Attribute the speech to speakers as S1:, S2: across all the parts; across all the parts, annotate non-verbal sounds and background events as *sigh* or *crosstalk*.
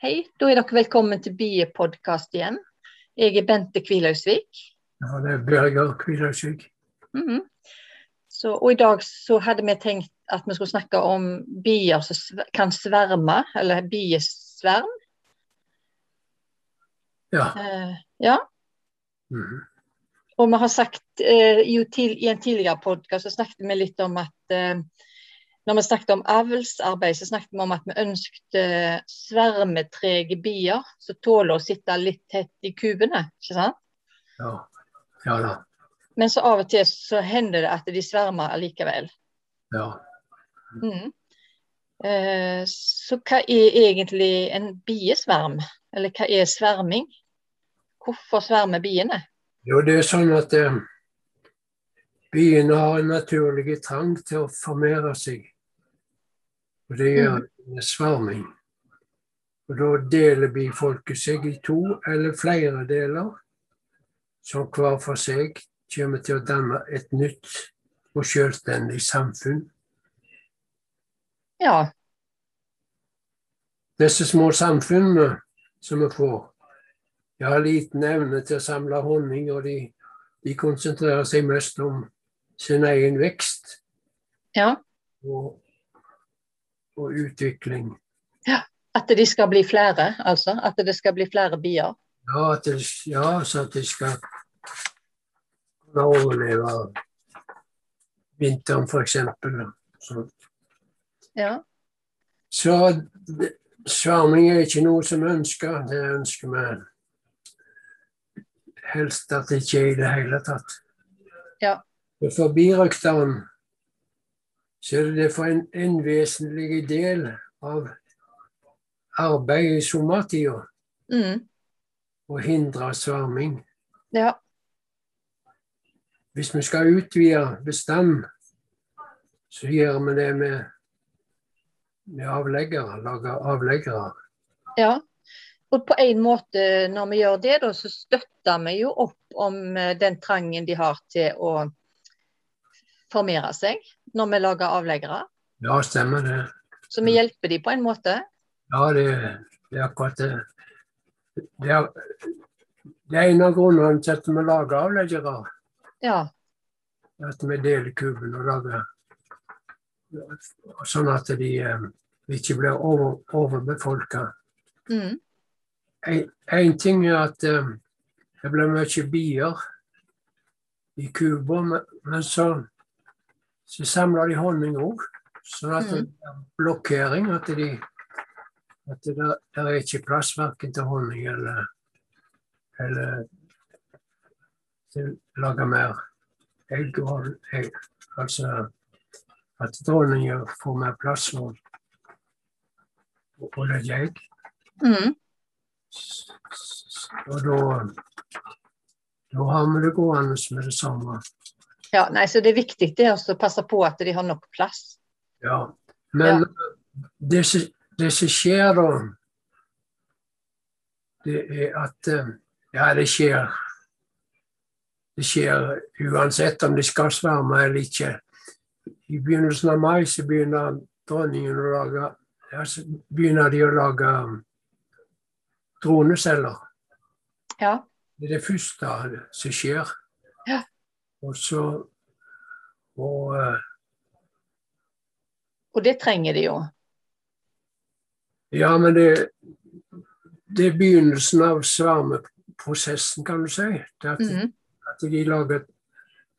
S1: Hei, da er dere velkommen til Biepodkast igjen. Jeg er Bente Kvilhausvik.
S2: Ja, det er Birger Kvilhausvik.
S1: Mhm. Så, og i dag så hadde vi tenkt at vi skulle snakke om bier som sver- kan sverme, eller biesverm.
S2: Ja.
S1: Eh, ja.
S2: mhm.
S1: Og vi har sagt eh, jo til, I en tidligere podkast snakket vi litt om at eh, når vi snakket om avlsarbeid, så snakket vi om at vi ønsket eh, svermetrege bier som tåler å sitte litt tett i kubene. ikke sant?
S2: ja. Ja da.
S1: Men så av og til så hender det at de svermer allikevel.
S2: Ja.
S1: Mhm. Eh, så hva er egentlig en biesverm? Eller hva er sverming? Hvorfor svermer biene?
S2: Jo, det er sånn at eh, biene har en naturlig trang til å formere seg. Og det gjør en sverming. Og da deler bifolket seg i to eller flere deler, som hver for seg kommer til å danne et nytt og selvstendig samfunn.
S1: Ja.
S2: disse små samfunnene som vi får. De har liten evne til å samle honning, og de, de konsentrerer seg mest om sin egen vekst
S1: ja.
S2: og, og utvikling.
S1: At de skal bli flere, altså. At det skal bli flere bier.
S2: Ja, at de, ja så at de skal kunne overleve vinteren, f.eks. Sånn.
S1: Ja.
S2: Så det- sverming er ikke noe som vi ønsker. Det ønsker vi helst at det ikke er i det hele tatt.
S1: Ja.
S2: Og For birøkteren så er det derfor en, en vesentlig del av arbeidet i sommertida
S1: Mm.
S2: å hindre sverming.
S1: ja.
S2: Hvis vi skal utvide bestand, så gjør vi det med, med avleggere, lager avleggere.
S1: Ja. Og på en måte, når vi gjør det, da, så støtter vi jo opp om eh, den trangen de har til å formere seg når vi lager avleggere.
S2: Ja, stemmer det.
S1: Så vi hjelper de på en måte.
S2: Ja, det, det er akkurat det. Det er, det er en av grunnene til at vi lager avleggere.
S1: Ja.
S2: At vi deler kuben og lager Sånn at de eh, ikke blir over, overbefolka.
S1: Mm.
S2: Én ting er at eh, det blir mye bier i kuber, men, men så, så samler de honning òg. Sånn at det blir blokkering. At, de, at det der, der er ikke plass verken til honning eller, eller til å lage mer egg. Og, egg. Altså at dronninga får mer plass og, og legge egg.
S1: Mm.
S2: Og da, da har vi det gående med det samme.
S1: ja. Nei, så det er viktig det er også å passe på at de har nok plass.
S2: Ja. Men
S1: Ja.
S2: det som- det som skjer da, det er at eh, Ja, det skjer. Det skjer uansett om de skal sverme eller ikke. I begynnelsen av mai så begynner dronningen å lage ja, så begynner de å lage um, droneceller.
S1: Ja.
S2: Det er det første som skjer.
S1: Ja.
S2: Og så og, eh,
S1: Og det trenger de jo.
S2: Ja, men det, det er begynnelsen av svermeprosessen, kan du si. Det at,
S1: Mm.
S2: at de lager,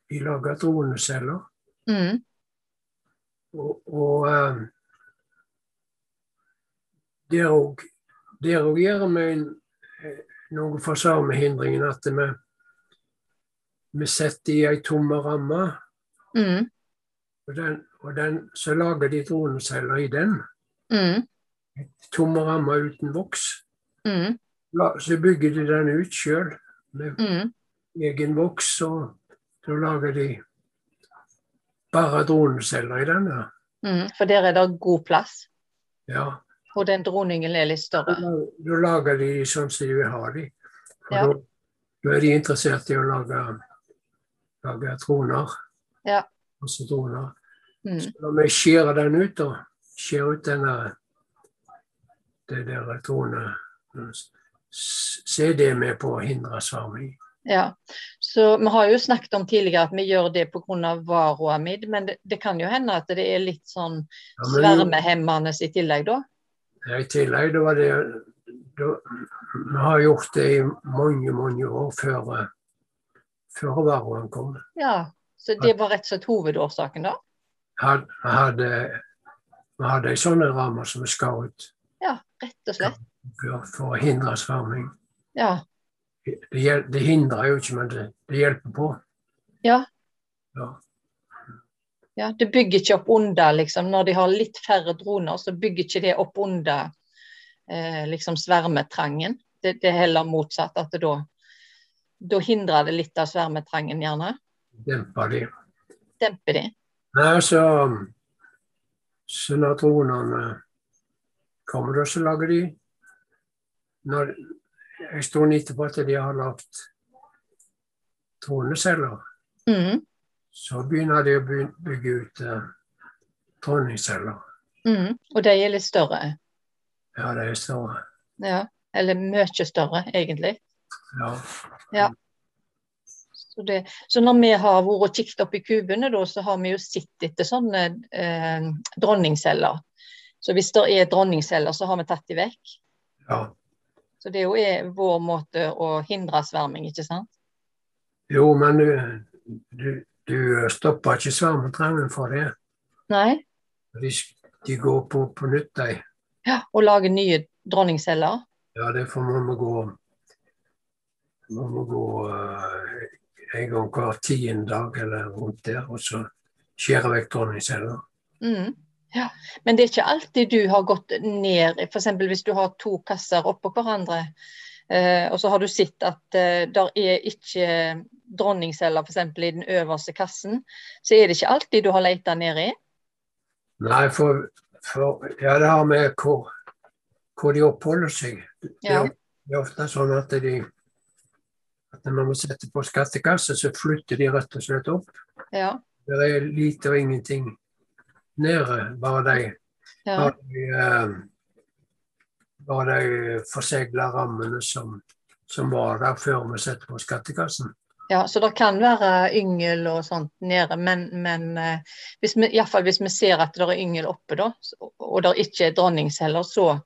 S2: de lager droneceller.
S1: Mm.
S2: Og, og eh, der òg der òg gjør vi en, eh, noe for samehindringen at vi, vi setter i ei tom ramme.
S1: Mm.
S2: Og, den, og den, så lager de droneceller i den.
S1: Mm.
S2: Tomme rammer uten voks.
S1: Mm.
S2: La, så bygger de den ut sjøl med
S1: Mm.
S2: egen voks, og da lager de bare droneceller i denne.
S1: Mm. For der er det god plass.
S2: Ja.
S1: Og den dronningen er litt
S2: Da,
S1: større.
S2: da lager de de sånn som de vil ha de. Og
S1: Ja.
S2: da, da er de interessert i å lage, lage troner.
S1: Ja.
S2: Masse troner.
S1: Mm.
S2: Så når vi skjærer den ut, da, skjærer ut denne det der tone CD med på å hindre sami.
S1: Ja, så Vi har jo snakket om tidligere at vi gjør det pga. varoamid, men det, det kan jo hende at det er litt sånn
S2: Ja, men-
S1: svermehemmende i tillegg, da?
S2: I tillegg det var det da, Vi har gjort det i mange, mange år før, eh, før varoen kom.
S1: Ja, Så det var rett og slett hovedårsaken, da?
S2: Had- Vi hadde, vi hadde sånne rammer som vi skar ut
S1: Ja, rett og slett.
S2: for, for å hindre sverming.
S1: Ja.
S2: Det, hjel- det hindrer jo ikke, men det, det hjelper på.
S1: Ja.
S2: Ja.
S1: ja. Det bygger ikke opp under, liksom. Når de har litt færre droner, så bygger ikke det opp under eh, liksom svermetrangen. Det, det er heller motsatt, at det da, da hindrer det litt av svermetrangen, gjerne.
S2: Demper det.
S1: Demper de.
S2: Nei, så, så når dronene kommer, da, så lager de når, En stund etterpå at de har lagd troneceller,
S1: Mm,
S2: så begynner de å by- bygge ut eh, dronningceller.
S1: mm. Og de er litt større.
S2: Ja, de er større.
S1: Ja, eller mye større, egentlig.
S2: Ja.
S1: Så, det, så når vi har vært og kikket opp i kubene, da, så har vi jo sett etter sånne eh, dronningceller. Så hvis det er dronningceller, så har vi tatt de vekk.
S2: ja.
S1: Så det er jo er vår måte å hindre sverming, ikke sant?
S2: Jo, men du, du, du stopper ikke svermetrangen for det.
S1: Nei?
S2: De, de går på på nytt, de.
S1: Ja, og lage nye dronningceller.
S2: Ja, det får man må gå Man må gå eh, en gang hver tiende dag eller rundt der, og så skjære vekk dronningceller.
S1: Mm. Ja. Men det er ikke alltid du har gått ned, f.eks. hvis du har to kasser oppå hverandre, eh, og så har du sett at eh, der er ikke dronningceller f.eks. i den øverste kassen, så er det ikke alltid du har leita nedi.
S2: Nei, for, for Ja, det har med hvor, hvor de oppholder seg. Det,
S1: Ja.
S2: er- det er ofte sånn at de at når man setter på skattekasse, så flytter de rett og slett opp.
S1: Ja.
S2: Det er lite og ingenting nede, bare de
S1: Ja.
S2: Var det, eh, var de forsegla rammene som, som var der før vi satte på skattekassen?
S1: ja, så det kan være yngel og sånt nede, men, men eh, hvis vi, i hvert fall hvis vi ser at det er yngel oppe, da, så- og det ikke er dronningceller, så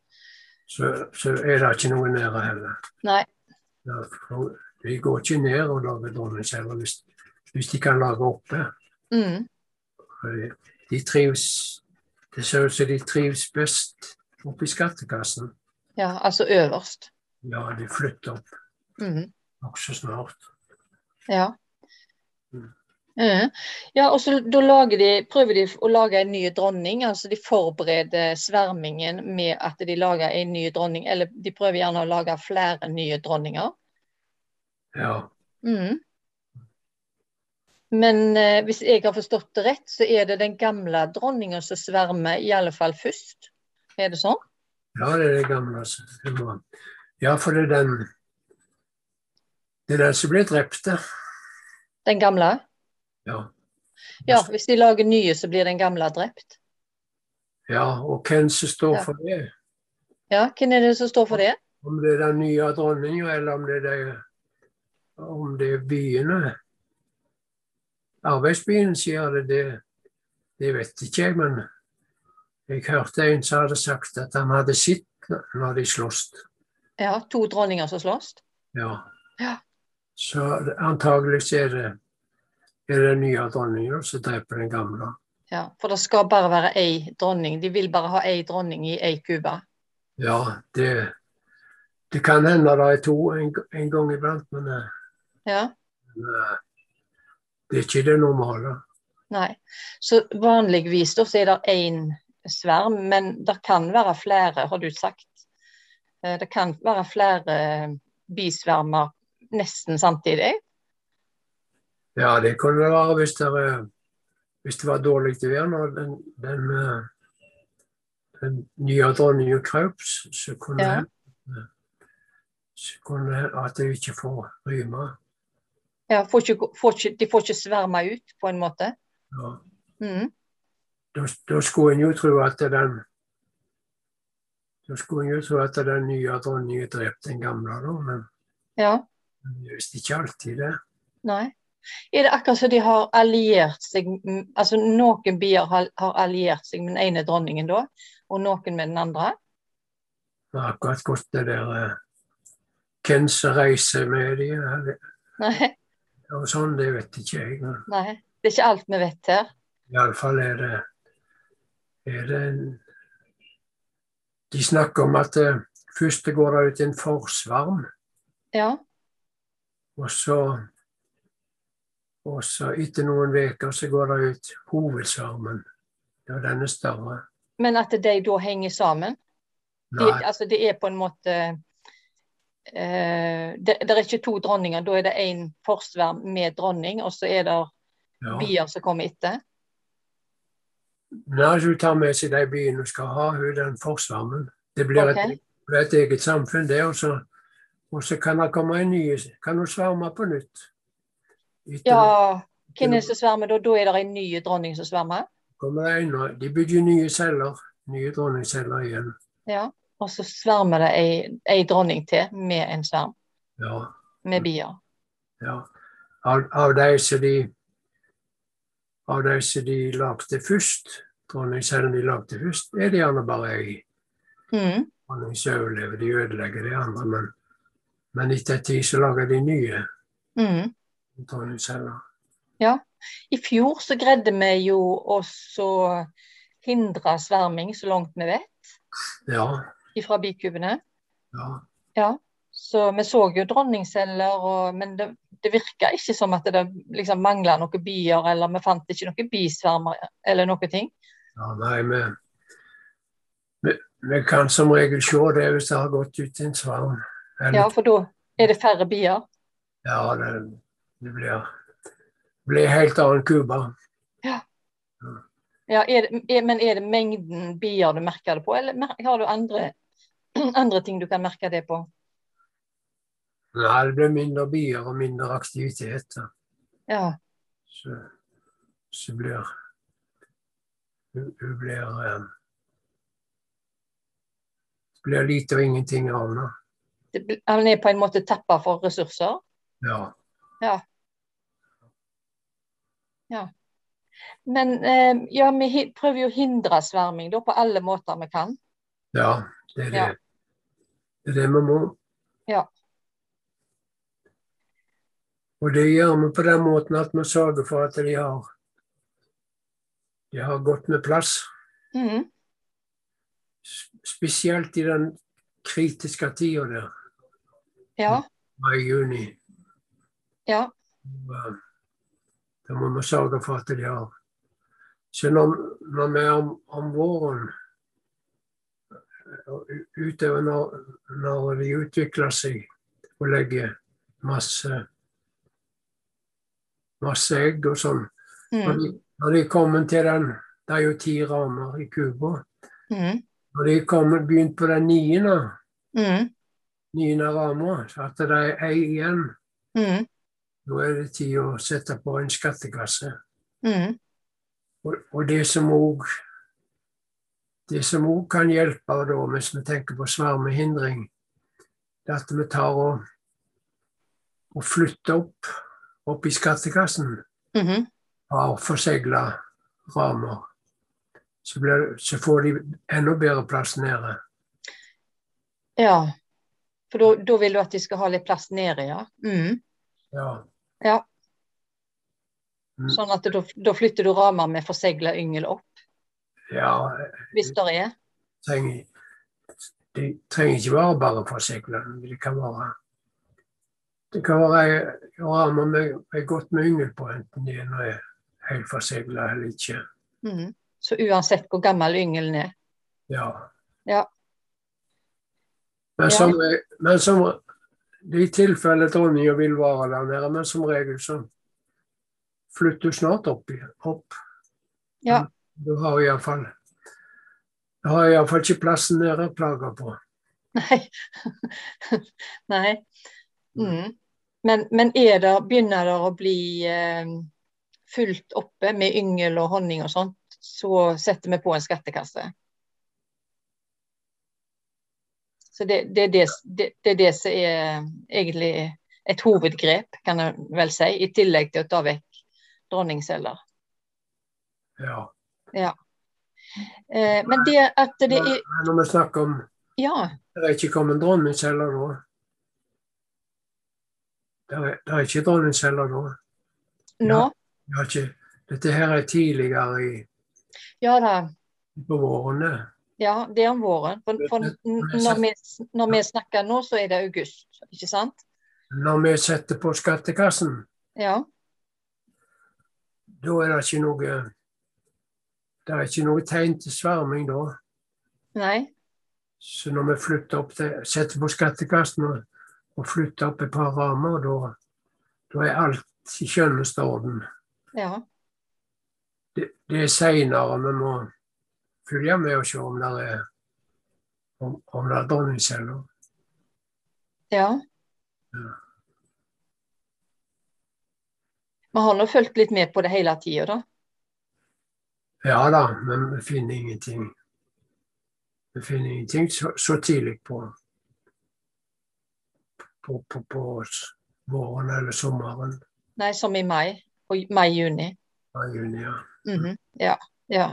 S2: Så, så er det ikke noe nede heller.
S1: Nei.
S2: Ja, for De går ikke ned og lager dronningceller hvis, hvis de kan lage oppe.
S1: mm,
S2: For de- De trives Det ser ut som de trives best oppe i skattekassen.
S1: Ja, altså øverst.
S2: Ja, de flytter opp
S1: Mm.
S2: nokså snart.
S1: Ja.
S2: Mm.
S1: Mhm. Ja, og så da lager de, prøver de å lage en ny dronning. altså De forbereder svermingen med at de lager en ny dronning, eller de prøver gjerne å lage flere nye dronninger.
S2: Ja.
S1: Mhm. Men eh, hvis jeg har forstått det rett, så er det den gamle dronninga som svermer, i alle fall først. Er det sånn?
S2: Ja, det er det gamle. altså. Det må- Ja, for det er den Det er den som blir drept, det.
S1: Den gamle?
S2: Ja.
S1: Ja, hvis de lager nye, så blir den gamle drept.
S2: ja. Og hvem som står
S1: Ja.
S2: for det?
S1: Ja, hvem er det som står for det?
S2: Om det er den nye dronninga, eller om det er, de, om det er byene? Arbeidsbyen sier det, det, det vet ikke jeg, men jeg hørte en som hadde sagt at han hadde sett når de sloss.
S1: Ja, to dronninger som slåss?
S2: Ja.
S1: Ja.
S2: Så antagelig så er det, er det den nye dronninga som dreper den gamle.
S1: Ja, for det skal bare være ei dronning. De vil bare ha ei dronning i ei kube.
S2: Ja, det, det kan hende det er to en, en gang iblant, men eh,
S1: Ja,
S2: eh, det er ikke det normale.
S1: nei. Så vanligvis da så er det én sverm, men det kan være flere, har du sagt. Eh, Det kan være flere eh, bisvermer nesten samtidig.
S2: Ja, det kunne det være hvis det, er- hvis det var dårlig vær når den, den, eh, den nye dronninga krøp, s- så kunne
S1: Ja.
S2: det hende- eh, så kunne det hende at de ikke får rømme.
S1: Ja, får ikke, gå- får ikke, de får ikke sverme ut, på en måte.
S2: Ja.
S1: Mhm.
S2: Da, da skulle en jo tro at den Da skulle en jo tro at den nye dronningen drepte den gamle, da, men
S1: Ja.
S2: det er visst ikke alltid det.
S1: Nei. Er det akkurat som de har alliert seg m- Altså noen bier har, har alliert seg med den ene dronningen da, og noen med den andre?
S2: Det har akkurat gått det der eh, Hvem som reiser med de, eller-
S1: Nei. *laughs*
S2: og sånn, det vet ikke jeg. men
S1: nei. Det er ikke alt vi vet her.
S2: Iallfall er det, er det en, De snakker om at eh, først det går det ut en forsvarm,
S1: Ja.
S2: og så og så etter noen uker så går det ut hovedsvarmen. Ja, den er større.
S1: Men at de da henger sammen? De,
S2: Nei,
S1: altså det er på en måte eh, det, det er ikke to dronninger, da er det én forsvær med dronning, og så er det
S2: ja.
S1: bier som kommer etter?
S2: Nei, hun tar med seg de byene hun skal ha, hun den forsvarmen. Det blir
S1: Ok.
S2: et, det blir et eget samfunn, det. Og så, og så kan det komme en ny Kan hun svarme på nytt. Etter
S1: Ja, hvem er det som svermer da? Da er det en ny dronning som svermer?
S2: kommer det en, og de bygger nye celler. Nye dronningceller igjen.
S1: Ja. Og så svermer det ei, ei dronning til med en sverm
S2: Ja, Mm.
S1: med bier.
S2: ja. Av, av de som de Av de som de lagde først, dronningcellen de lagde først, er det gjerne bare ei
S1: Mm.
S2: dronning som overlever. De ødelegger de andre, men, men etter en tid så lager de nye
S1: Mm.
S2: dronningceller.
S1: I fjor så greide vi jo også å hindre sverming så langt vi vet
S2: Ja,
S1: fra bikubene.
S2: ja.
S1: Så vi så jo dronningceller, og, men det, det virka ikke som at det liksom mangla noen bier, eller vi fant ikke noen bisvermer eller noen ting.
S2: ja nei, vi, vi, vi kan som regel se det hvis det har gått ut en svarm. Eller,
S1: Ja,
S2: ja,
S1: for da er det færre bier.
S2: det, det blir, blir helt annen Cuba.
S1: Ja, er det, er, men er det mengden bier du merker det på, eller mer- har du andre, *clears throat* andre ting du kan merke det på?
S2: Nei, det blir mindre bier og mindre aktiviteter.
S1: Ja.
S2: Så, så blir Hun hun blir eh, Det blir lite og ingenting av det.
S1: Det, bl- han er på en måte tappa for ressurser.
S2: Ja.
S1: Men eh, ja, vi hi- prøver jo å hindre sverming da, på alle måter vi kan.
S2: ja, det er det.
S1: Ja.
S2: Det er det vi må.
S1: Ja.
S2: Og det gjør vi på den måten at vi sørger for at de har de har godt med plass.
S1: Mhm.
S2: S- Spesielt i den kritiske tida der,
S1: Ja,
S2: mai-juni.
S1: ja,
S2: Og, eh, Da må vi sørge for at de har Så når, når vi er om, om våren og u- utover når, når de utvikler seg og legger masse masse egg og sånn Når
S1: mhm,
S2: de, når de kommer til den Det er jo ti ramer i Cuba.
S1: mhm,
S2: Når de kommer begynt på den niende,
S1: mhm,
S2: niende rama, så at det er ei igjen,
S1: mhm,
S2: da er det tid å sette på en skattekasse.
S1: mhm.
S2: Og, og det som òg det som også kan hjelpe da, hvis vi tenker på svermehindring, det er at vi tar og, og flytter opp, opp i skattekassen
S1: mhm.
S2: av forsegla ramer. Så, blir, det- så får de enda bedre plass nede.
S1: Ja. For da- da vil du at de skal ha litt plass nede, ja. Mhm.
S2: Ja,
S1: Sånn at da da flytter du ramer med forsegla yngel opp,
S2: ja
S1: hvis det er.
S2: trenger, de trenger ikke være bare forsegla. Det kan være det kan være ramer med, med godt med yngel på, enten de nå er helt forsegla eller ikke.
S1: Mhm. Så uansett hvor gammel yngelen er.
S2: Ja.
S1: Ja.
S2: Men, som, men som de tilfeller dronninga vil være der nede, men som regel så flytter hun snart opp. igjen- opp.
S1: Ja.
S2: Du har iallfall Du har iallfall ikke plassen nede å plage på.
S1: *laughs* Nei. Nei. Mhm. Men, men er det, begynner det å bli eh, fullt oppe med yngel og honning og sånt, så setter vi på en skattekasse. Så det, det, er det, det, det er det som er egentlig et hovedgrep, kan jeg vel si, i tillegg til å ta vekk dronningceller.
S2: Ja.
S1: Ja. Eh, men det at det er
S2: Men Når vi snakker om
S1: Ja.
S2: Det er ikke kommet dronningceller nå. Det er, det er ikke dronningceller nå.
S1: Nå?
S2: Vi har ikke, dette her er tidligere i,
S1: Ja da.
S2: på våren. det.
S1: Ja, det er om våren. For, for n- når, vi, når vi snakker nå, så er det august, ikke sant?
S2: Når vi setter på skattekassen,
S1: Ja.
S2: da er det ikke noe Det er ikke noe tegn til sverming da.
S1: Nei.
S2: Så når vi flytter opp til, setter på skattekassen og, og flytter opp et par rammer, da, da er alt i skjønneste orden.
S1: Ja.
S2: det, det er seinere vi må følge med og se om det er, om, om det er dronningceller.
S1: Ja.
S2: Ja.
S1: Vi har nå fulgt litt med på det hele tida, da.
S2: Ja da, men vi finner ingenting. Vi finner ingenting så, så tidlig på på, på, på s- våren eller sommeren.
S1: Nei, som i mai. Og mai-juni.
S2: Ja, juni, ja.
S1: Mhm. Ja. Ja.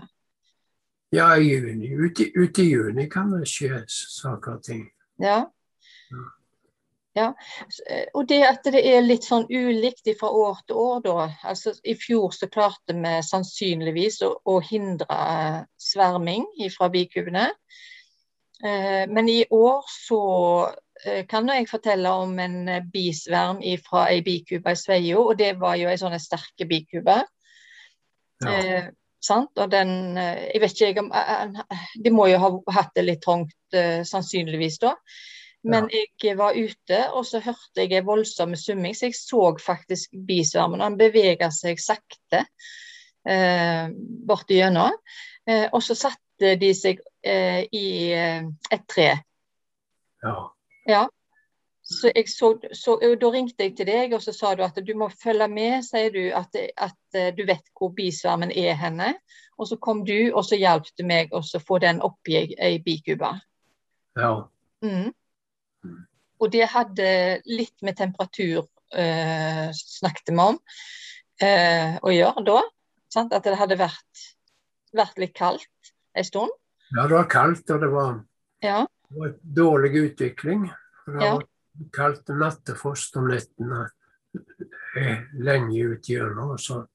S2: ja i juni. Ute, i- ute i juni kan det skje s- saker og ting.
S1: Ja.
S2: Mm.
S1: ja. S- eh, Og det at det er litt sånn ulikt fra år til år, da. Altså, I fjor så klarte vi sannsynligvis å, å hindre eh, sverming fra bikubene. Eh, Men i år så eh, kan nå jeg fortelle om en eh, bisverm fra ei bikube i Sveio, og det var jo ei sånn sterk bikube.
S2: Ja.
S1: Eh, sant? Og den eh, Jeg vet ikke, jeg, om- eh, eh, de må jo ha hatt det litt trangt, eh, sannsynligvis, da. Men jeg var ute, og så hørte jeg en voldsom summing, så jeg så faktisk bisvermen. og Han beveget seg sakte eh, borti gjennom. Eh, og så satte de seg eh, i eh, et tre.
S2: ja.
S1: Ja. Så jeg så, så, og da ringte jeg til deg, og så sa du at du må følge med, sier du, at, at eh, du vet hvor bisvermen er henne. Og så kom du, og så hjalp du meg å få den oppi ei- ei bikube.
S2: ja.
S1: Mm.
S2: Mm.
S1: Og det hadde litt med temperatur, eh, snakket vi om, eh, å gjøre da. Sant? At det hadde vært, vært litt kaldt en stund.
S2: ja det var kaldt, og det var
S1: Ja,
S2: Det var en dårlig utvikling. for Det
S1: Ja.
S2: var kaldt og nattefrost om nettene eh, lenge ut gjennom. og Så,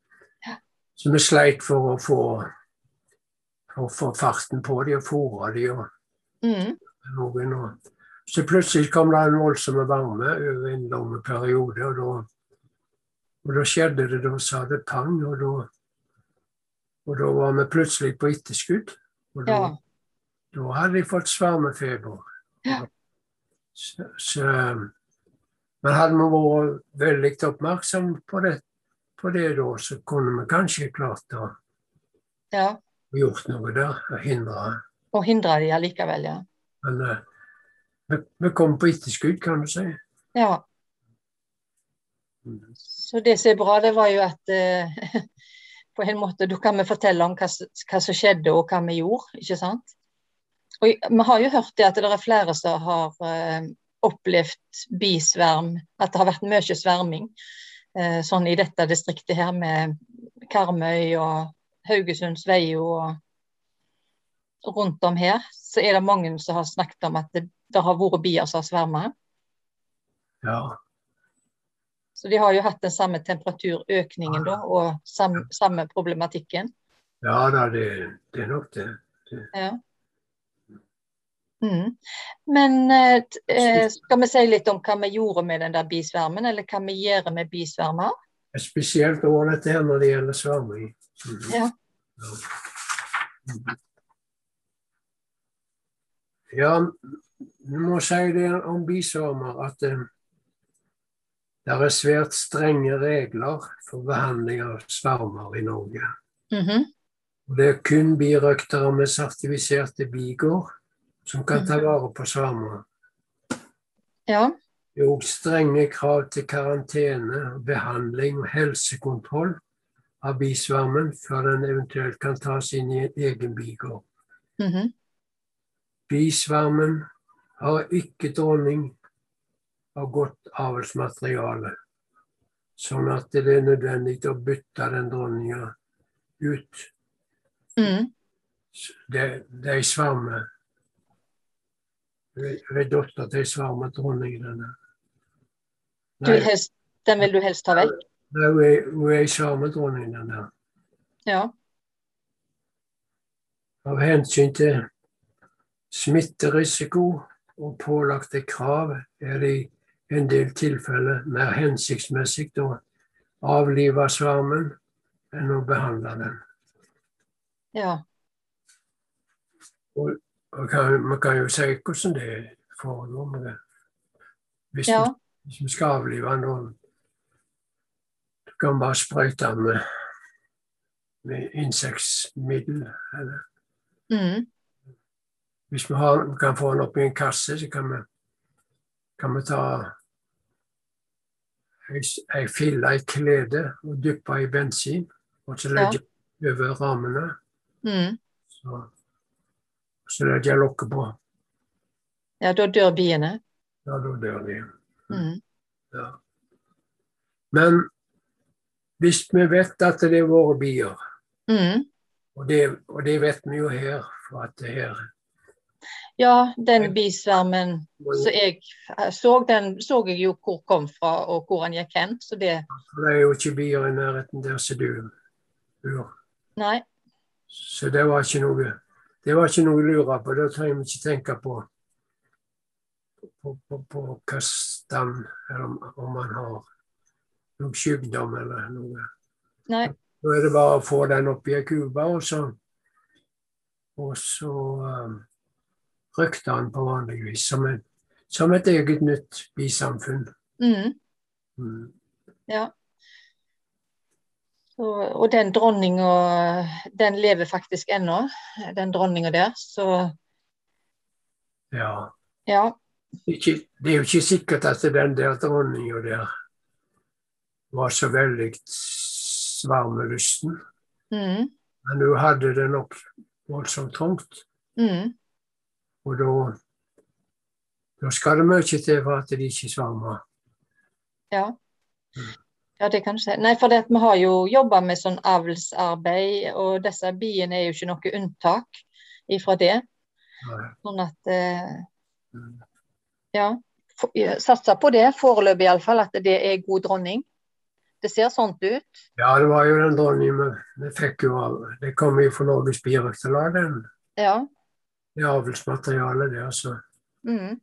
S1: Ja.
S2: så vi sleit for å få, for å få farten på de og fôre de og
S1: mm.
S2: noen. Og, så plutselig kom det en voldsom varme over en lang periode, og da, og da skjedde det. Da sa det pang, og da, og da var vi plutselig på etterskudd. Og da,
S1: ja,
S2: da hadde jeg fått svermefeber.
S1: Ja.
S2: Så, så, men hadde vi vært veldig oppmerksom på det, på det da, så kunne vi kanskje klart å
S1: ja.
S2: gjort noe der, og hindre det.
S1: Og hindre de allikevel, ja.
S2: Men eh, vi, vi kom på etterskudd, kan du si.
S1: Ja.
S2: Mhm.
S1: Så det som er bra, det var jo at eh, *laughs* på en måte, da kan vi fortelle om hva, s- hva som skjedde og hva vi gjorde, ikke sant? Og jeg- vi har jo hørt det at det er flere som har eh, opplevd bisverm, at det har vært mye sverming. eh, sånn i dette distriktet her med Karmøy og Haugesund, Sveio og rundt om her, så er det mange som har snakket om at det, det har vært bier som har svermet.
S2: Ja.
S1: Så de har jo hatt den samme temperaturøkningen da, og sam, samme problematikken.
S2: ja da, det, det er nok det.
S1: Mm. Men eh, t- eh, skal vi si litt om hva vi gjorde med den der bisvermen, eller hva vi gjør med bisvermer?
S2: Det er spesielt over dette her når det gjelder sverming. Mhm.
S1: Ja.
S2: Mhm. Ja, vi må si det om bisvermer at eh, det er svært strenge regler for behandling av svermer i Norge.
S1: Mhm.
S2: Og det er kun birøktere med sertifiserte bigård som kan ta vare på svermer.
S1: Ja.
S2: Det er òg strenge krav til karantene, behandling og helsekontroll av bisvermen før den eventuelt kan tas inn i en egen bigård.
S1: Mhm.
S2: Bisvermen har ikke dronning av godt avlsmateriale. Sånn at det er nødvendig å bytte den dronninga ut.
S1: Mm.
S2: Det, det er ei sverme. Hun er- hun er datter til ei svermedronning, denne.
S1: Du
S2: Nei,
S1: vil helst, den vil du helst ta vekk?
S2: nei, hun er- hun er ei svermedronning, denne.
S1: Ja.
S2: Av hensyn til smitterisiko og pålagte krav er det i en del tilfeller mer hensiktsmessig å avlive svermen enn å behandle den.
S1: ja.
S2: Man kan, man kan jo si hvordan det foregår. med det. Hvis,
S1: ja.
S2: man, hvis man skal avlive noen, du kan bare sprøyte den med, med insektmiddel. Eller
S1: Mm.
S2: hvis vi har, vi kan få den oppi en kasse, så kan vi, kan vi ta ei s- ei fille, et klede, og dyppe i bensin. Og så legge over rammene.
S1: Mm.
S2: Så, så legger jeg lokket på.
S1: ja, da dør biene.
S2: Ja, da dør de.
S1: Mm.
S2: Ja. Men hvis vi vet at det er våre bier,
S1: Mm.
S2: og det, og det vet vi jo her for at det her
S1: Ja, den bisvermen Så jeg eh, så, den, så jeg jo hvor kom fra og hvor han gikk hen. Så det
S2: Det er jo ikke bier i nærheten der som du bor.
S1: Nei.
S2: Så det var ikke noe det var ikke noe å lure på. Da trenger vi ikke tenke på på, på, på hva stand, eller om, om man har noen sykdom eller noe.
S1: Nei.
S2: Da er det bare å få den opp i ei kube, og så, og så um, røkte han på vanlig vis, som, en, som et eget nytt bisamfunn.
S1: Mm.
S2: Mm.
S1: Så, og den dronninga, den lever faktisk ennå, den dronninga der. Så
S2: Ja.
S1: ja.
S2: Ikke, det er jo ikke sikkert at den der dronninga der var så veldig svarmelysten,
S1: Mm.
S2: men hun hadde det nok voldsomt trangt,
S1: Mm.
S2: og da da skal det mye til for at de ikke svarmer.
S1: Ja. Ja, det kan skje. Nei, for det at vi har jo jobba med sånn avlsarbeid, og disse biene er jo ikke noe unntak ifra det.
S2: Nei.
S1: Sånn at eh,
S2: Mm.
S1: Ja. for- ja, Satser på det foreløpig iallfall, at det er god dronning. Det ser sånt ut.
S2: Ja, det var jo den dronningen vi, vi fikk jo av Det kom jo fra Norges Birøkterlag, den.
S1: Ja.
S2: Det avlsmaterialet der, så
S1: Mm,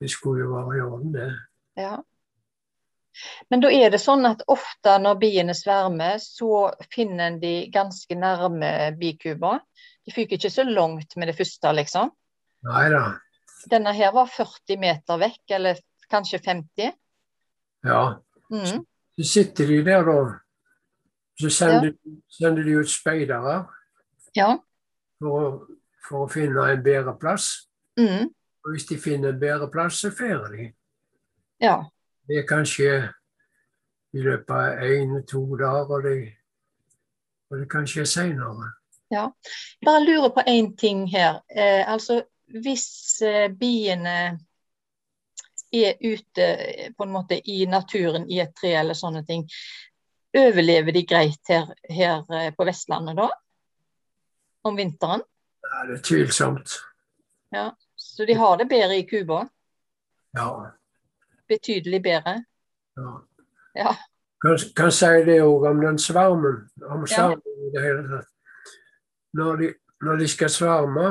S2: det skulle jo være i orden, det.
S1: ja. Men da er det sånn at ofte når biene svermer, så finner en de ganske nærme bikuba. De fyker ikke så langt med det første, liksom.
S2: Nei da.
S1: Denne her var 40 meter vekk, eller kanskje 50.
S2: Ja.
S1: Mm,
S2: Så sitter de der, da. Så sender, sender de ut speidere
S1: ja.
S2: for å, for å finne en bedre plass.
S1: Mm,
S2: Og hvis de finner en bedre plass, så fer de.
S1: ja.
S2: Det kan skje i løpet av én to dager, og det, og det kan skje seinere.
S1: Bare lurer på én ting her. Eh, altså hvis eh, biene er ute eh, på en måte i naturen i et tre eller sånne ting, overlever de greit her, her eh, på Vestlandet da? Om vinteren?
S2: Ja, det er tvilsomt.
S1: Så de har det bedre i Cuba?
S2: Ja.
S1: Betydelig bedre?
S2: ja.
S1: Ja.
S2: Kan, kan si det òg om den svermen. Om
S1: Ja.
S2: svermen i det hele tatt. Når de, når de skal sverme,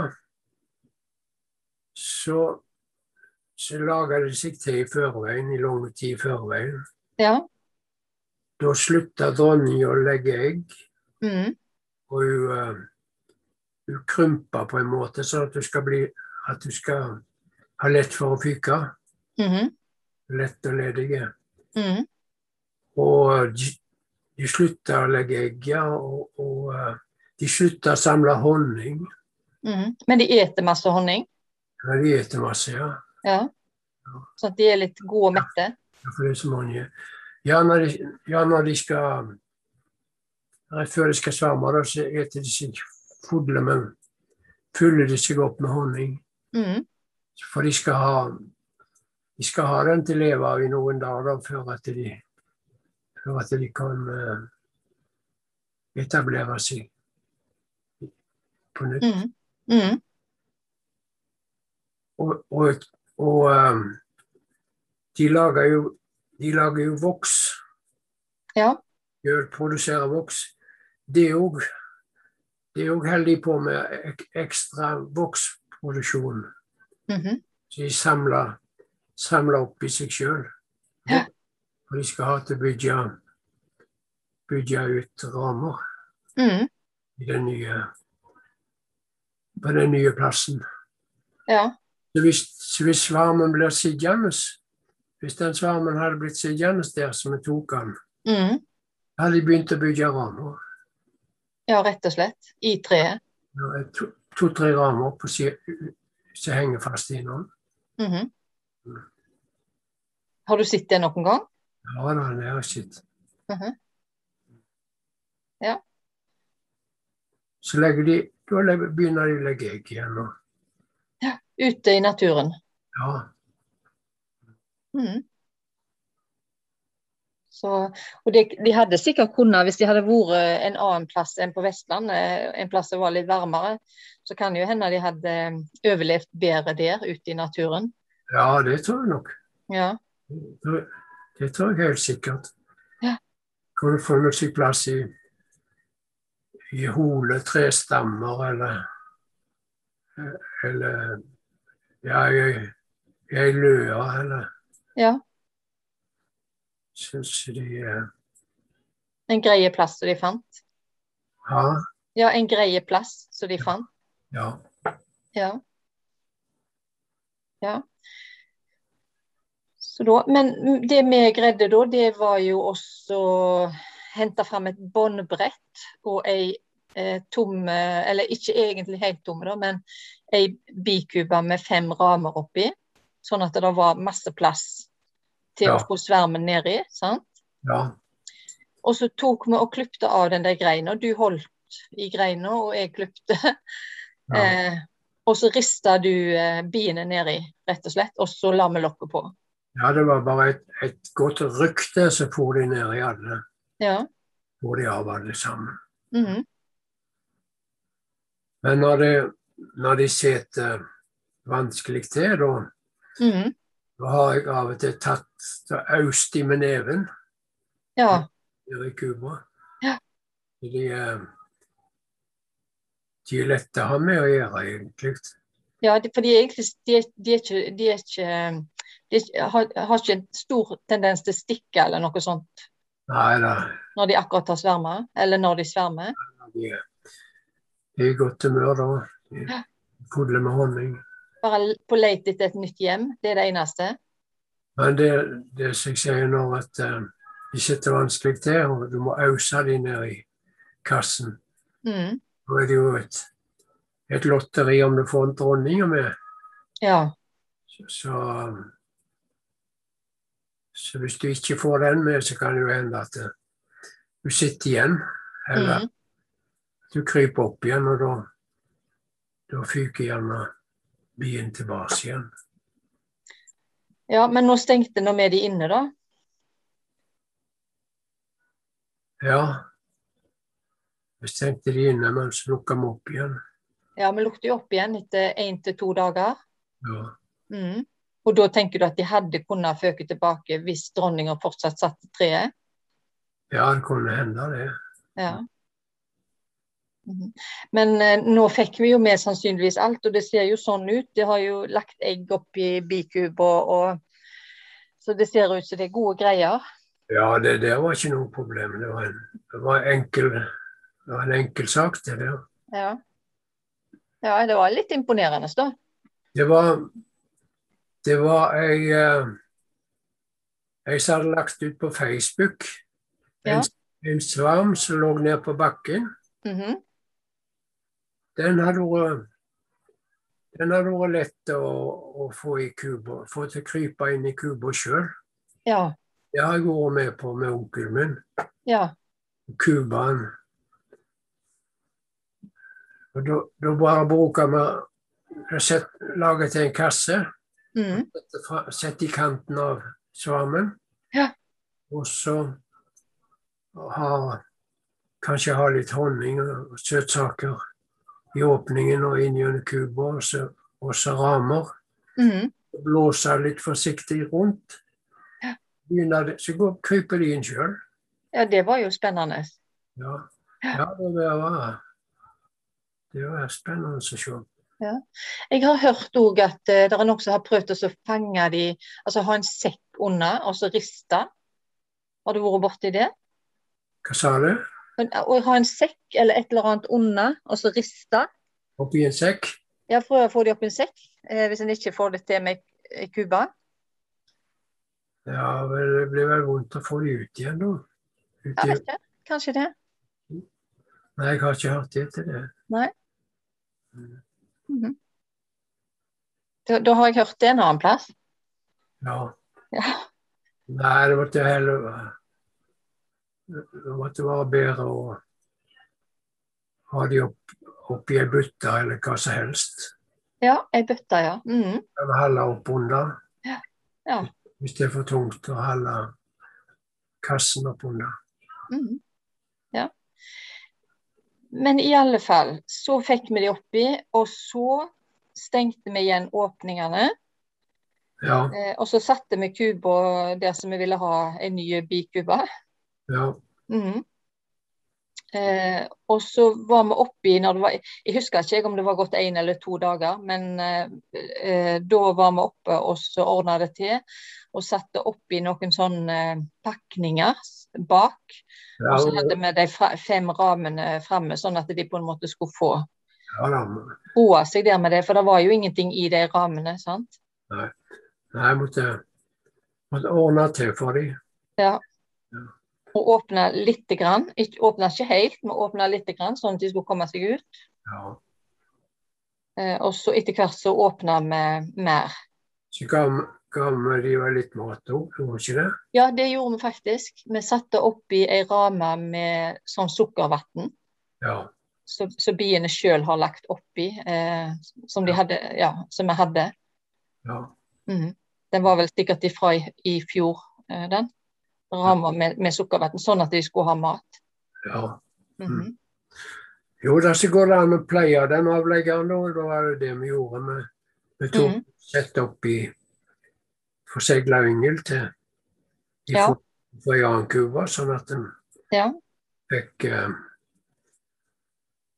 S2: så, så lager de seg til i forveien, i lang tid i forveien.
S1: Ja.
S2: Da slutter dronninga å legge egg,
S1: Mm.
S2: og hun, eh, hun krymper på en måte, sånn at du skal, bli, at du skal ha lett for å fyke.
S1: mhm,
S2: Lett og ledige.
S1: mm.
S2: Og de, de slutter å legge egg, ja, og, og eh, de slutter å samle honning.
S1: Mm. Men de eter masse honning?
S2: Ja, de spiser masse, ja.
S1: Ja. Så at de er litt gode og mette?
S2: Ja, for det er så mange. Ja, når de, ja, når de skal rett før de skal svømme, da, så eter de seg fulle, men fyller de seg opp med honning.
S1: Mm.
S2: For de skal ha, de skal ha den til å leve av i noen dager før at de, før at de kan eh, etablere seg på nytt.
S1: Mm. Mm.
S2: Og, og, og eh, de lager jo, de lager jo voks.
S1: Ja.
S2: Gjør, produserer voks. Det òg de er òg heldige på med ek, ekstra voksproduksjon.
S1: mhm.
S2: Så de samler, samler opp i seg sjøl.
S1: Ja.
S2: Og de skal ha til å bygge, bygge ut rammer
S1: Mm.
S2: i den nye, på den nye plassen.
S1: Ja.
S2: Så hvis, så hvis svarmen blir sittende Hvis den svarmen hadde blitt sittende der som vi tok den,
S1: Mm.
S2: hadde de begynt å bygge rammer.
S1: ja, rett og slett. I treet.
S2: To-tre to, tre rammer på si- som henger fast i noen.
S1: Mhm. Har du sett det noen gang?
S2: Ja da, det har jeg sett.
S1: Mhm. Ja.
S2: Så legger de, da legger- begynner de å legge egg igjen. Og,
S1: Ute i naturen.
S2: ja,
S1: Mhm. Så, og de, de hadde sikkert kunnet, hvis de hadde vært en annen plass enn på Vestlandet, en plass som var litt varmere, så kan det jo hende de hadde eh, overlevd bedre der ute i naturen.
S2: ja, det tror jeg nok.
S1: Ja.
S2: Det- Det tror jeg helt sikkert.
S1: Ja.
S2: Kunne funnet seg plass i, i hole, trestammer eller Eller ja, i i ei løe eller
S1: ja.
S2: Syns de eh,
S1: En greie plass som de fant.
S2: Ja.
S1: Ja, en greie plass som de fant.
S2: ja.
S1: Ja. Ja. Så da, men det vi greide da, det var jo også å hente fram et båndbrett og ei eh, tom, eh, eller ikke egentlig helt tom, da, men ei bikube med fem ramer oppi. Sånn at det da var masse plass til
S2: Ja.
S1: å få svermen nedi. sant?
S2: ja.
S1: Og så tok vi og klipte av den der greina. Du holdt i greina, og jeg klipte.
S2: ja.
S1: Eh, og så rista du eh, biene nedi, rett og slett, og så la vi lokket på.
S2: Ja, det var bare et, et godt rykte, så for de ned i alle.
S1: Ja.
S2: For de av alle sammen.
S1: Mhm.
S2: Men når de, når de sitter vanskelig til, da,
S1: Mhm.
S2: da har jeg av og til tatt da aust de med neven
S1: Ja.
S2: nede i Cuba.
S1: Ja.
S2: Så De, eh, de er lette å ha med å gjøre, egentlig.
S1: ja, de- for de er egentlig de, er- de er ikke, de er ikke de er, ikke- har, har ikke en stor tendens til å stikke eller noe sånt
S2: Nei da,
S1: når de akkurat har sverma, eller når de svermer.
S2: de er de er i godt humør da. De
S1: Ja.
S2: Pudler med honning.
S1: Bare på leit etter et nytt hjem. Det er det eneste.
S2: Men det, det som jeg sier nå, at eh, de sitter vanskelig til, og du må ause de ned i kassen.
S1: Mhm.
S2: Da er det jo et, et lotteri om du får en dronning med.
S1: Ja.
S2: Så, så, så hvis du ikke får den med, så kan det jo hende at eh, du sitter igjen, eller
S1: Mhm.
S2: du kryper opp igjen, og da, da fyker gjerne bien tilbake igjen.
S1: ja. Men nå stengte nå vi de inne, da.
S2: Ja, vi stengte de inne, men så lukka vi opp igjen.
S1: Ja, vi lukter jo opp igjen etter én til to dager.
S2: Ja.
S1: Mm. Og da tenker du at de hadde kunnet føke tilbake hvis dronninga fortsatt satt i treet?
S2: Ja, det kunne hende det.
S1: Ja. Mhm. Men eh, nå fikk vi jo med sannsynligvis alt, og det ser jo sånn ut. De har jo lagt egg oppi bikuber, og, så det ser ut som det er gode greier.
S2: Ja, det der var ikke noe problem. Det var en, det var enkel, det var en enkel sak, det der.
S1: Ja. ja, det var litt imponerende, da.
S2: Det var, det var ei eh, Ei som hadde lagt ut på Facebook
S1: Ja.
S2: en, en svam som lå ned på bakken.
S1: Mhm.
S2: Den hadde vært den hadde vært lett å, å få i Cuba, få til å krype inn i Cuba sjøl.
S1: Ja,
S2: Det har jeg vært med på med onkelen min.
S1: ja.
S2: Cubaen. Og da, da bare bruker vi sett, laget en kasse,
S1: Mm.
S2: sette fra- sett i kanten av svamen.
S1: Ja.
S2: Og så ha, kanskje ha litt honning og søtsaker i åpningen og inn gjennom kuber, og så- og så ramer
S1: Mm.
S2: blåse litt forsiktig rundt.
S1: Ja.
S2: Begynner det, så går, kryper de inn sjøl.
S1: Ja, det var jo spennende.
S2: Ja.
S1: Ja.
S2: ja, det der var Det var spennende å se.
S1: Jeg har hørt òg at eh, det er noen som har prøvd å så fange de Altså ha en sekk under og så riste. Har du vært borti det?
S2: Hva sa du?
S1: Men, eh, Å ha en sekk eller et eller annet under og så riste.
S2: Oppi en sekk?
S1: Ja, prøv å få de opp i en sekk, eh, hvis en ikke får det til med eh, kuba.
S2: Ja, vel, det blir vel vondt å få de ut igjen, da. Ut
S1: Ja,
S2: igjen.
S1: vet ikke. Kanskje det.
S2: Nei, jeg har ikke hørt det til det.
S1: Mhm. Da, da har jeg hørt det en annen plass.
S2: Ja.
S1: Ja.
S2: Nei, det måtte heller Det måtte være bedre å ha de opp, oppi ei bytte eller hva som helst.
S1: Ja, ei bøtte, ja. Mhm.
S2: Eller holde oppunder.
S1: Ja, ja.
S2: Hvis det er for tungt å holde kassen oppunder.
S1: Mhm. Ja. Men i alle fall, så fikk vi de oppi, og så stengte vi igjen åpningene.
S2: Ja,
S1: eh, Og så satte vi kuba der som vi ville ha en ny bikuba.
S2: ja.
S1: Mhm. Eh, og så var vi oppi når det var Jeg husker ikke jeg om det var gått én eller to dager, men eh, eh, da var vi oppe og så ordna det til. Og satte oppi noen sånne eh, pakninger bak.
S2: Ja,
S1: Og så hadde vi de fra, fem ramene framme, sånn at de på en måte skulle få
S2: ja da.
S1: roa seg der med det. For det var jo ingenting i de ramene, sant.
S2: Nei, jeg måtte, måtte ordne til for dem.
S1: Og åpna lite grann. Ikke, åpna ikke helt, men åpna lite grann, sånn at de skulle komme seg ut.
S2: Ja.
S1: Eh, og så etter hvert så åpna vi mer.
S2: Så ga vi- ga vi de vel litt mat òg, gjorde vi ikke det?
S1: Ja, det gjorde vi faktisk. Vi satte oppi ei ramme med sånn sukkervann
S2: Ja.
S1: som som biene sjøl har lagt oppi, eh, som de hadde, ja, som vi hadde.
S2: ja.
S1: Mhm. Den var vel sikkert ifra i, i fjor, eh, den. Ramma med, med sukkervann, sånn at de skulle ha mat.
S2: ja.
S1: Mhm.
S2: Jo da, så går det an å pleie den avleggeren, og da var det det vi gjorde. med- Vi tok
S1: Mhm.
S2: sett opp i forsegla yngel til i
S1: Ja.
S2: ja. fra Jan Cuba, sånn at en
S1: Ja.
S2: fikk eh,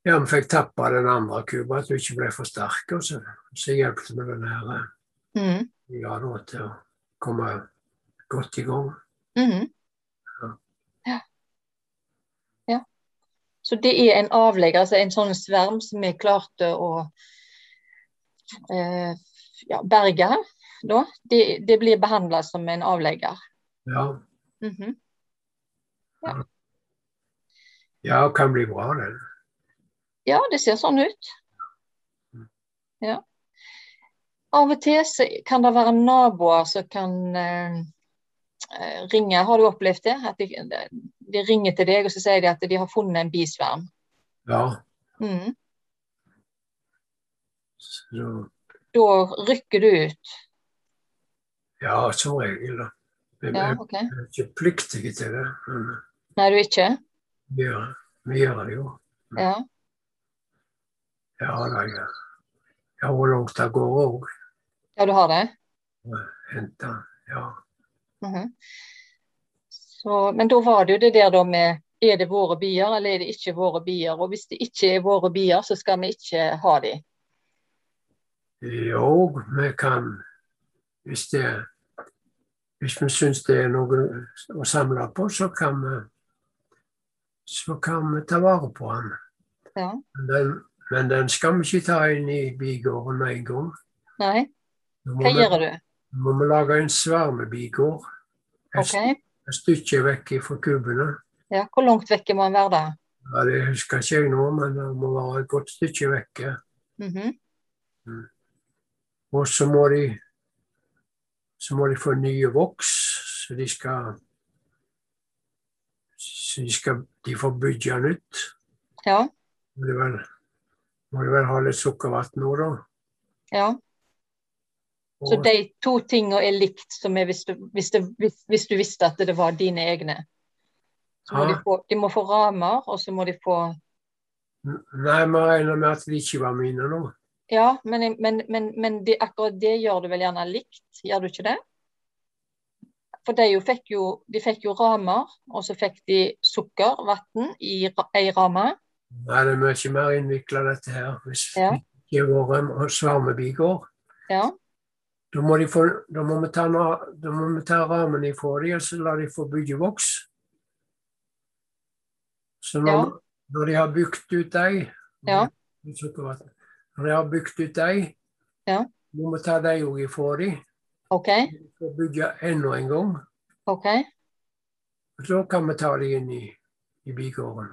S2: ja, vi fikk tappa den andre kuba, at du ikke ble for sterk. Og så, så hjalp det med den her eh,
S1: Mhm.
S2: ja, da, til å komme godt i gang.
S1: Mhm.
S2: Ja.
S1: Ja. Ja. Så det er en avlegger, altså en sånn sverm som vi klarte å eh, ja, berge. Da. Det, det blir behandla som en avlegger.
S2: Ja,
S1: Mhm.
S2: ja det kan bli bra, den.
S1: Ja, det ser sånn ut. Ja. Av og til så kan det være naboer som kan eh, eh, ringe. Har du opplevd det? At de, de ringer til deg og så sier de at de har funnet en bisverm.
S2: Ja.
S1: Mhm.
S2: Så,
S1: Da rykker du ut.
S2: ja, som regel, da. Vi
S1: Ja,
S2: vi
S1: ok.
S2: er ikke pliktige til det, men
S1: Nei, du er ikke?
S2: vi gjør, vi gjør det jo.
S1: Ja.
S2: Ja, da, ja. ja hvor langt det går òg.
S1: ja, du har det?
S2: Hente. Ja.
S1: Mhm. Så, men da var det jo det der da med er det våre bier eller er det ikke våre bier? Og hvis det ikke er våre bier, så skal vi ikke ha de.
S2: Jo, vi kan Hvis det hvis vi syns det er noe å samle på, så kan vi så kan vi ta vare på den.
S1: Ja.
S2: Men den, men den skal vi ikke ta inn i bigården med en gang.
S1: Nei,
S2: Nå
S1: hva
S2: må, vi,
S1: gjør du?
S2: nå må vi lage en svermebigård. Et,
S1: Ok,
S2: st- et stykke vekk fra kubbene.
S1: ja, Hvor langt vekke må en være da?
S2: Ja, det husker ikke jeg nå, men det må være et godt stykke vekke.
S1: Mhm.
S2: Og så må de så må de få nye voks, så de skal så de, skal, de får bygge nytt.
S1: Ja.
S2: Må de vel, må de vel ha litt sukkervann nå, da.
S1: Ja. Så
S2: Og,
S1: de to tingene er likt som er hvis du, hvis det, hvis, hvis du visste at det var dine egne. Så må
S2: Ja.
S1: de, få, de må få ramer, og så må de få
S2: nei, vi regner med at de ikke var mine nå.
S1: Ja, men, men, men, men det, akkurat det gjør du vel gjerne likt, gjør du ikke det? For de jo fikk jo, de fikk jo ramer, og så fikk de sukker, vann, i ra- ei ramme.
S2: Nei, det er mye mer innvikla dette her. Hvis
S1: Ja.
S2: det ikke har vært svarmebier,
S1: Ja.
S2: da må, de få, da må vi ta, na- da må vi ta rammen ifra dem, og så lar de få bygge voks. Så når,
S1: Ja.
S2: når de har bygd ut dem
S1: Ja.
S2: Når de har bygd ut dem,
S1: Ja.
S2: må vi ta dem òg ifra dem
S1: OK.
S2: og bygge enda en gang.
S1: ok.
S2: Og så kan vi ta dem inn i, i bygården.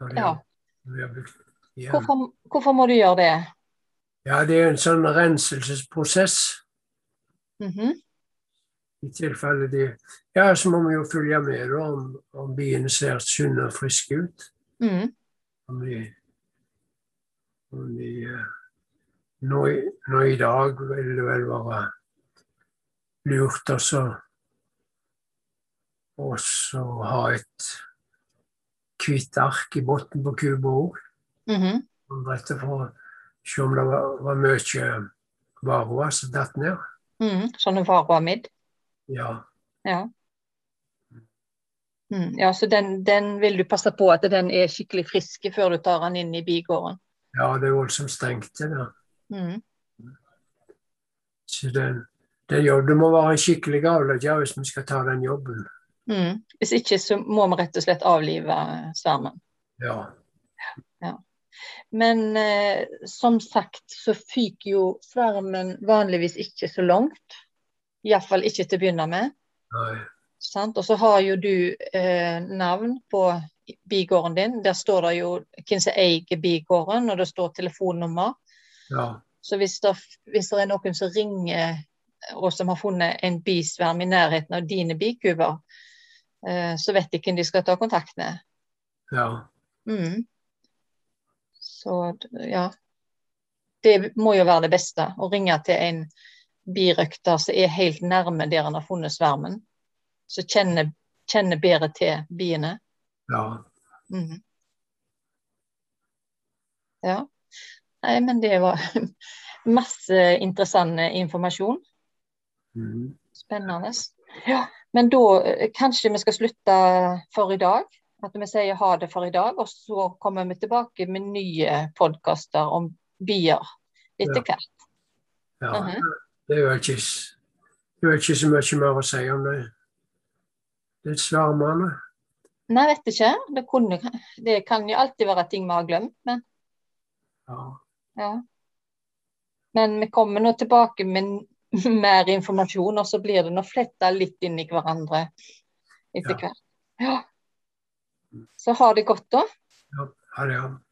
S2: Når de
S1: Ja.
S2: har- når de har bygd igjen.
S1: Hvorfor, hvorfor må du gjøre det?
S2: Ja, det er en sånn renselsesprosess.
S1: Mhm.
S2: I tilfelle de Ja, så må vi jo følge med da, om, om biene ser sunne og friske ut.
S1: Mm.
S2: Om de, om de eh, nå, i, nå i dag vil det vel være lurt også også ha et hvitt ark i bunnen på kuba òg.
S1: mhm.
S2: Rett og for å se om det var, var mye varroa som datt ned.
S1: Mm. Sånne varoamid.
S2: Ja.
S1: Ja. Mm. ja, så den, den vil du passe på at den er skikkelig frisk før du tar den inn i bigården.
S2: Ja, det er voldsomt strengt. det der.
S1: Mm.
S2: Så det, det, gjør, det må være en skikkelig avlegger hvis vi skal ta den jobben.
S1: Mm. Hvis ikke så må vi rett og slett avlive svermen.
S2: Ja.
S1: Men eh, som sagt så fyker jo svermen vanligvis ikke så langt. Iallfall ikke til å begynne med.
S2: Nei.
S1: Sant? Og så har jo du eh, navn på bigården din. Der står det jo hvem som eier bigården, og det står telefonnummer.
S2: Ja.
S1: Så hvis det, hvis det er noen som ringer og som har funnet en bisverm i nærheten av dine bikuber, eh, så vet de hvem de skal ta kontakt med.
S2: ja.
S1: Mm. Så d- ja. Det må jo være det beste, å ringe til en birøkter som er helt nærme der han har funnet svermen. Som kjenner, kjenner bedre til biene.
S2: ja.
S1: Mhm. Ja. Nei, men det var *laughs* masse interessant informasjon.
S2: Mhm.
S1: Spennende. Ja. Men da eh, kanskje vi skal slutte for i dag. At vi sier ha det for i dag, og så kommer vi tilbake med nye podkaster om bier etter
S2: Ja.
S1: hvert.
S2: ja.
S1: Mhm.
S2: Det er jo ikke, s- det er jo ikke så mye mer å si om det. Det er svermene.
S1: Nei, jeg vet ikke. Det, kunne, det kan jo alltid være ting vi har glemt, men
S2: Ja.
S1: ja. Men vi kommer nå tilbake med n- *laughs* mer informasjon, og så blir det nå fletta litt inn i hverandre etter
S2: Ja.
S1: hvert. Ja. Så ha det godt, da.
S2: ja. Ha det. ja.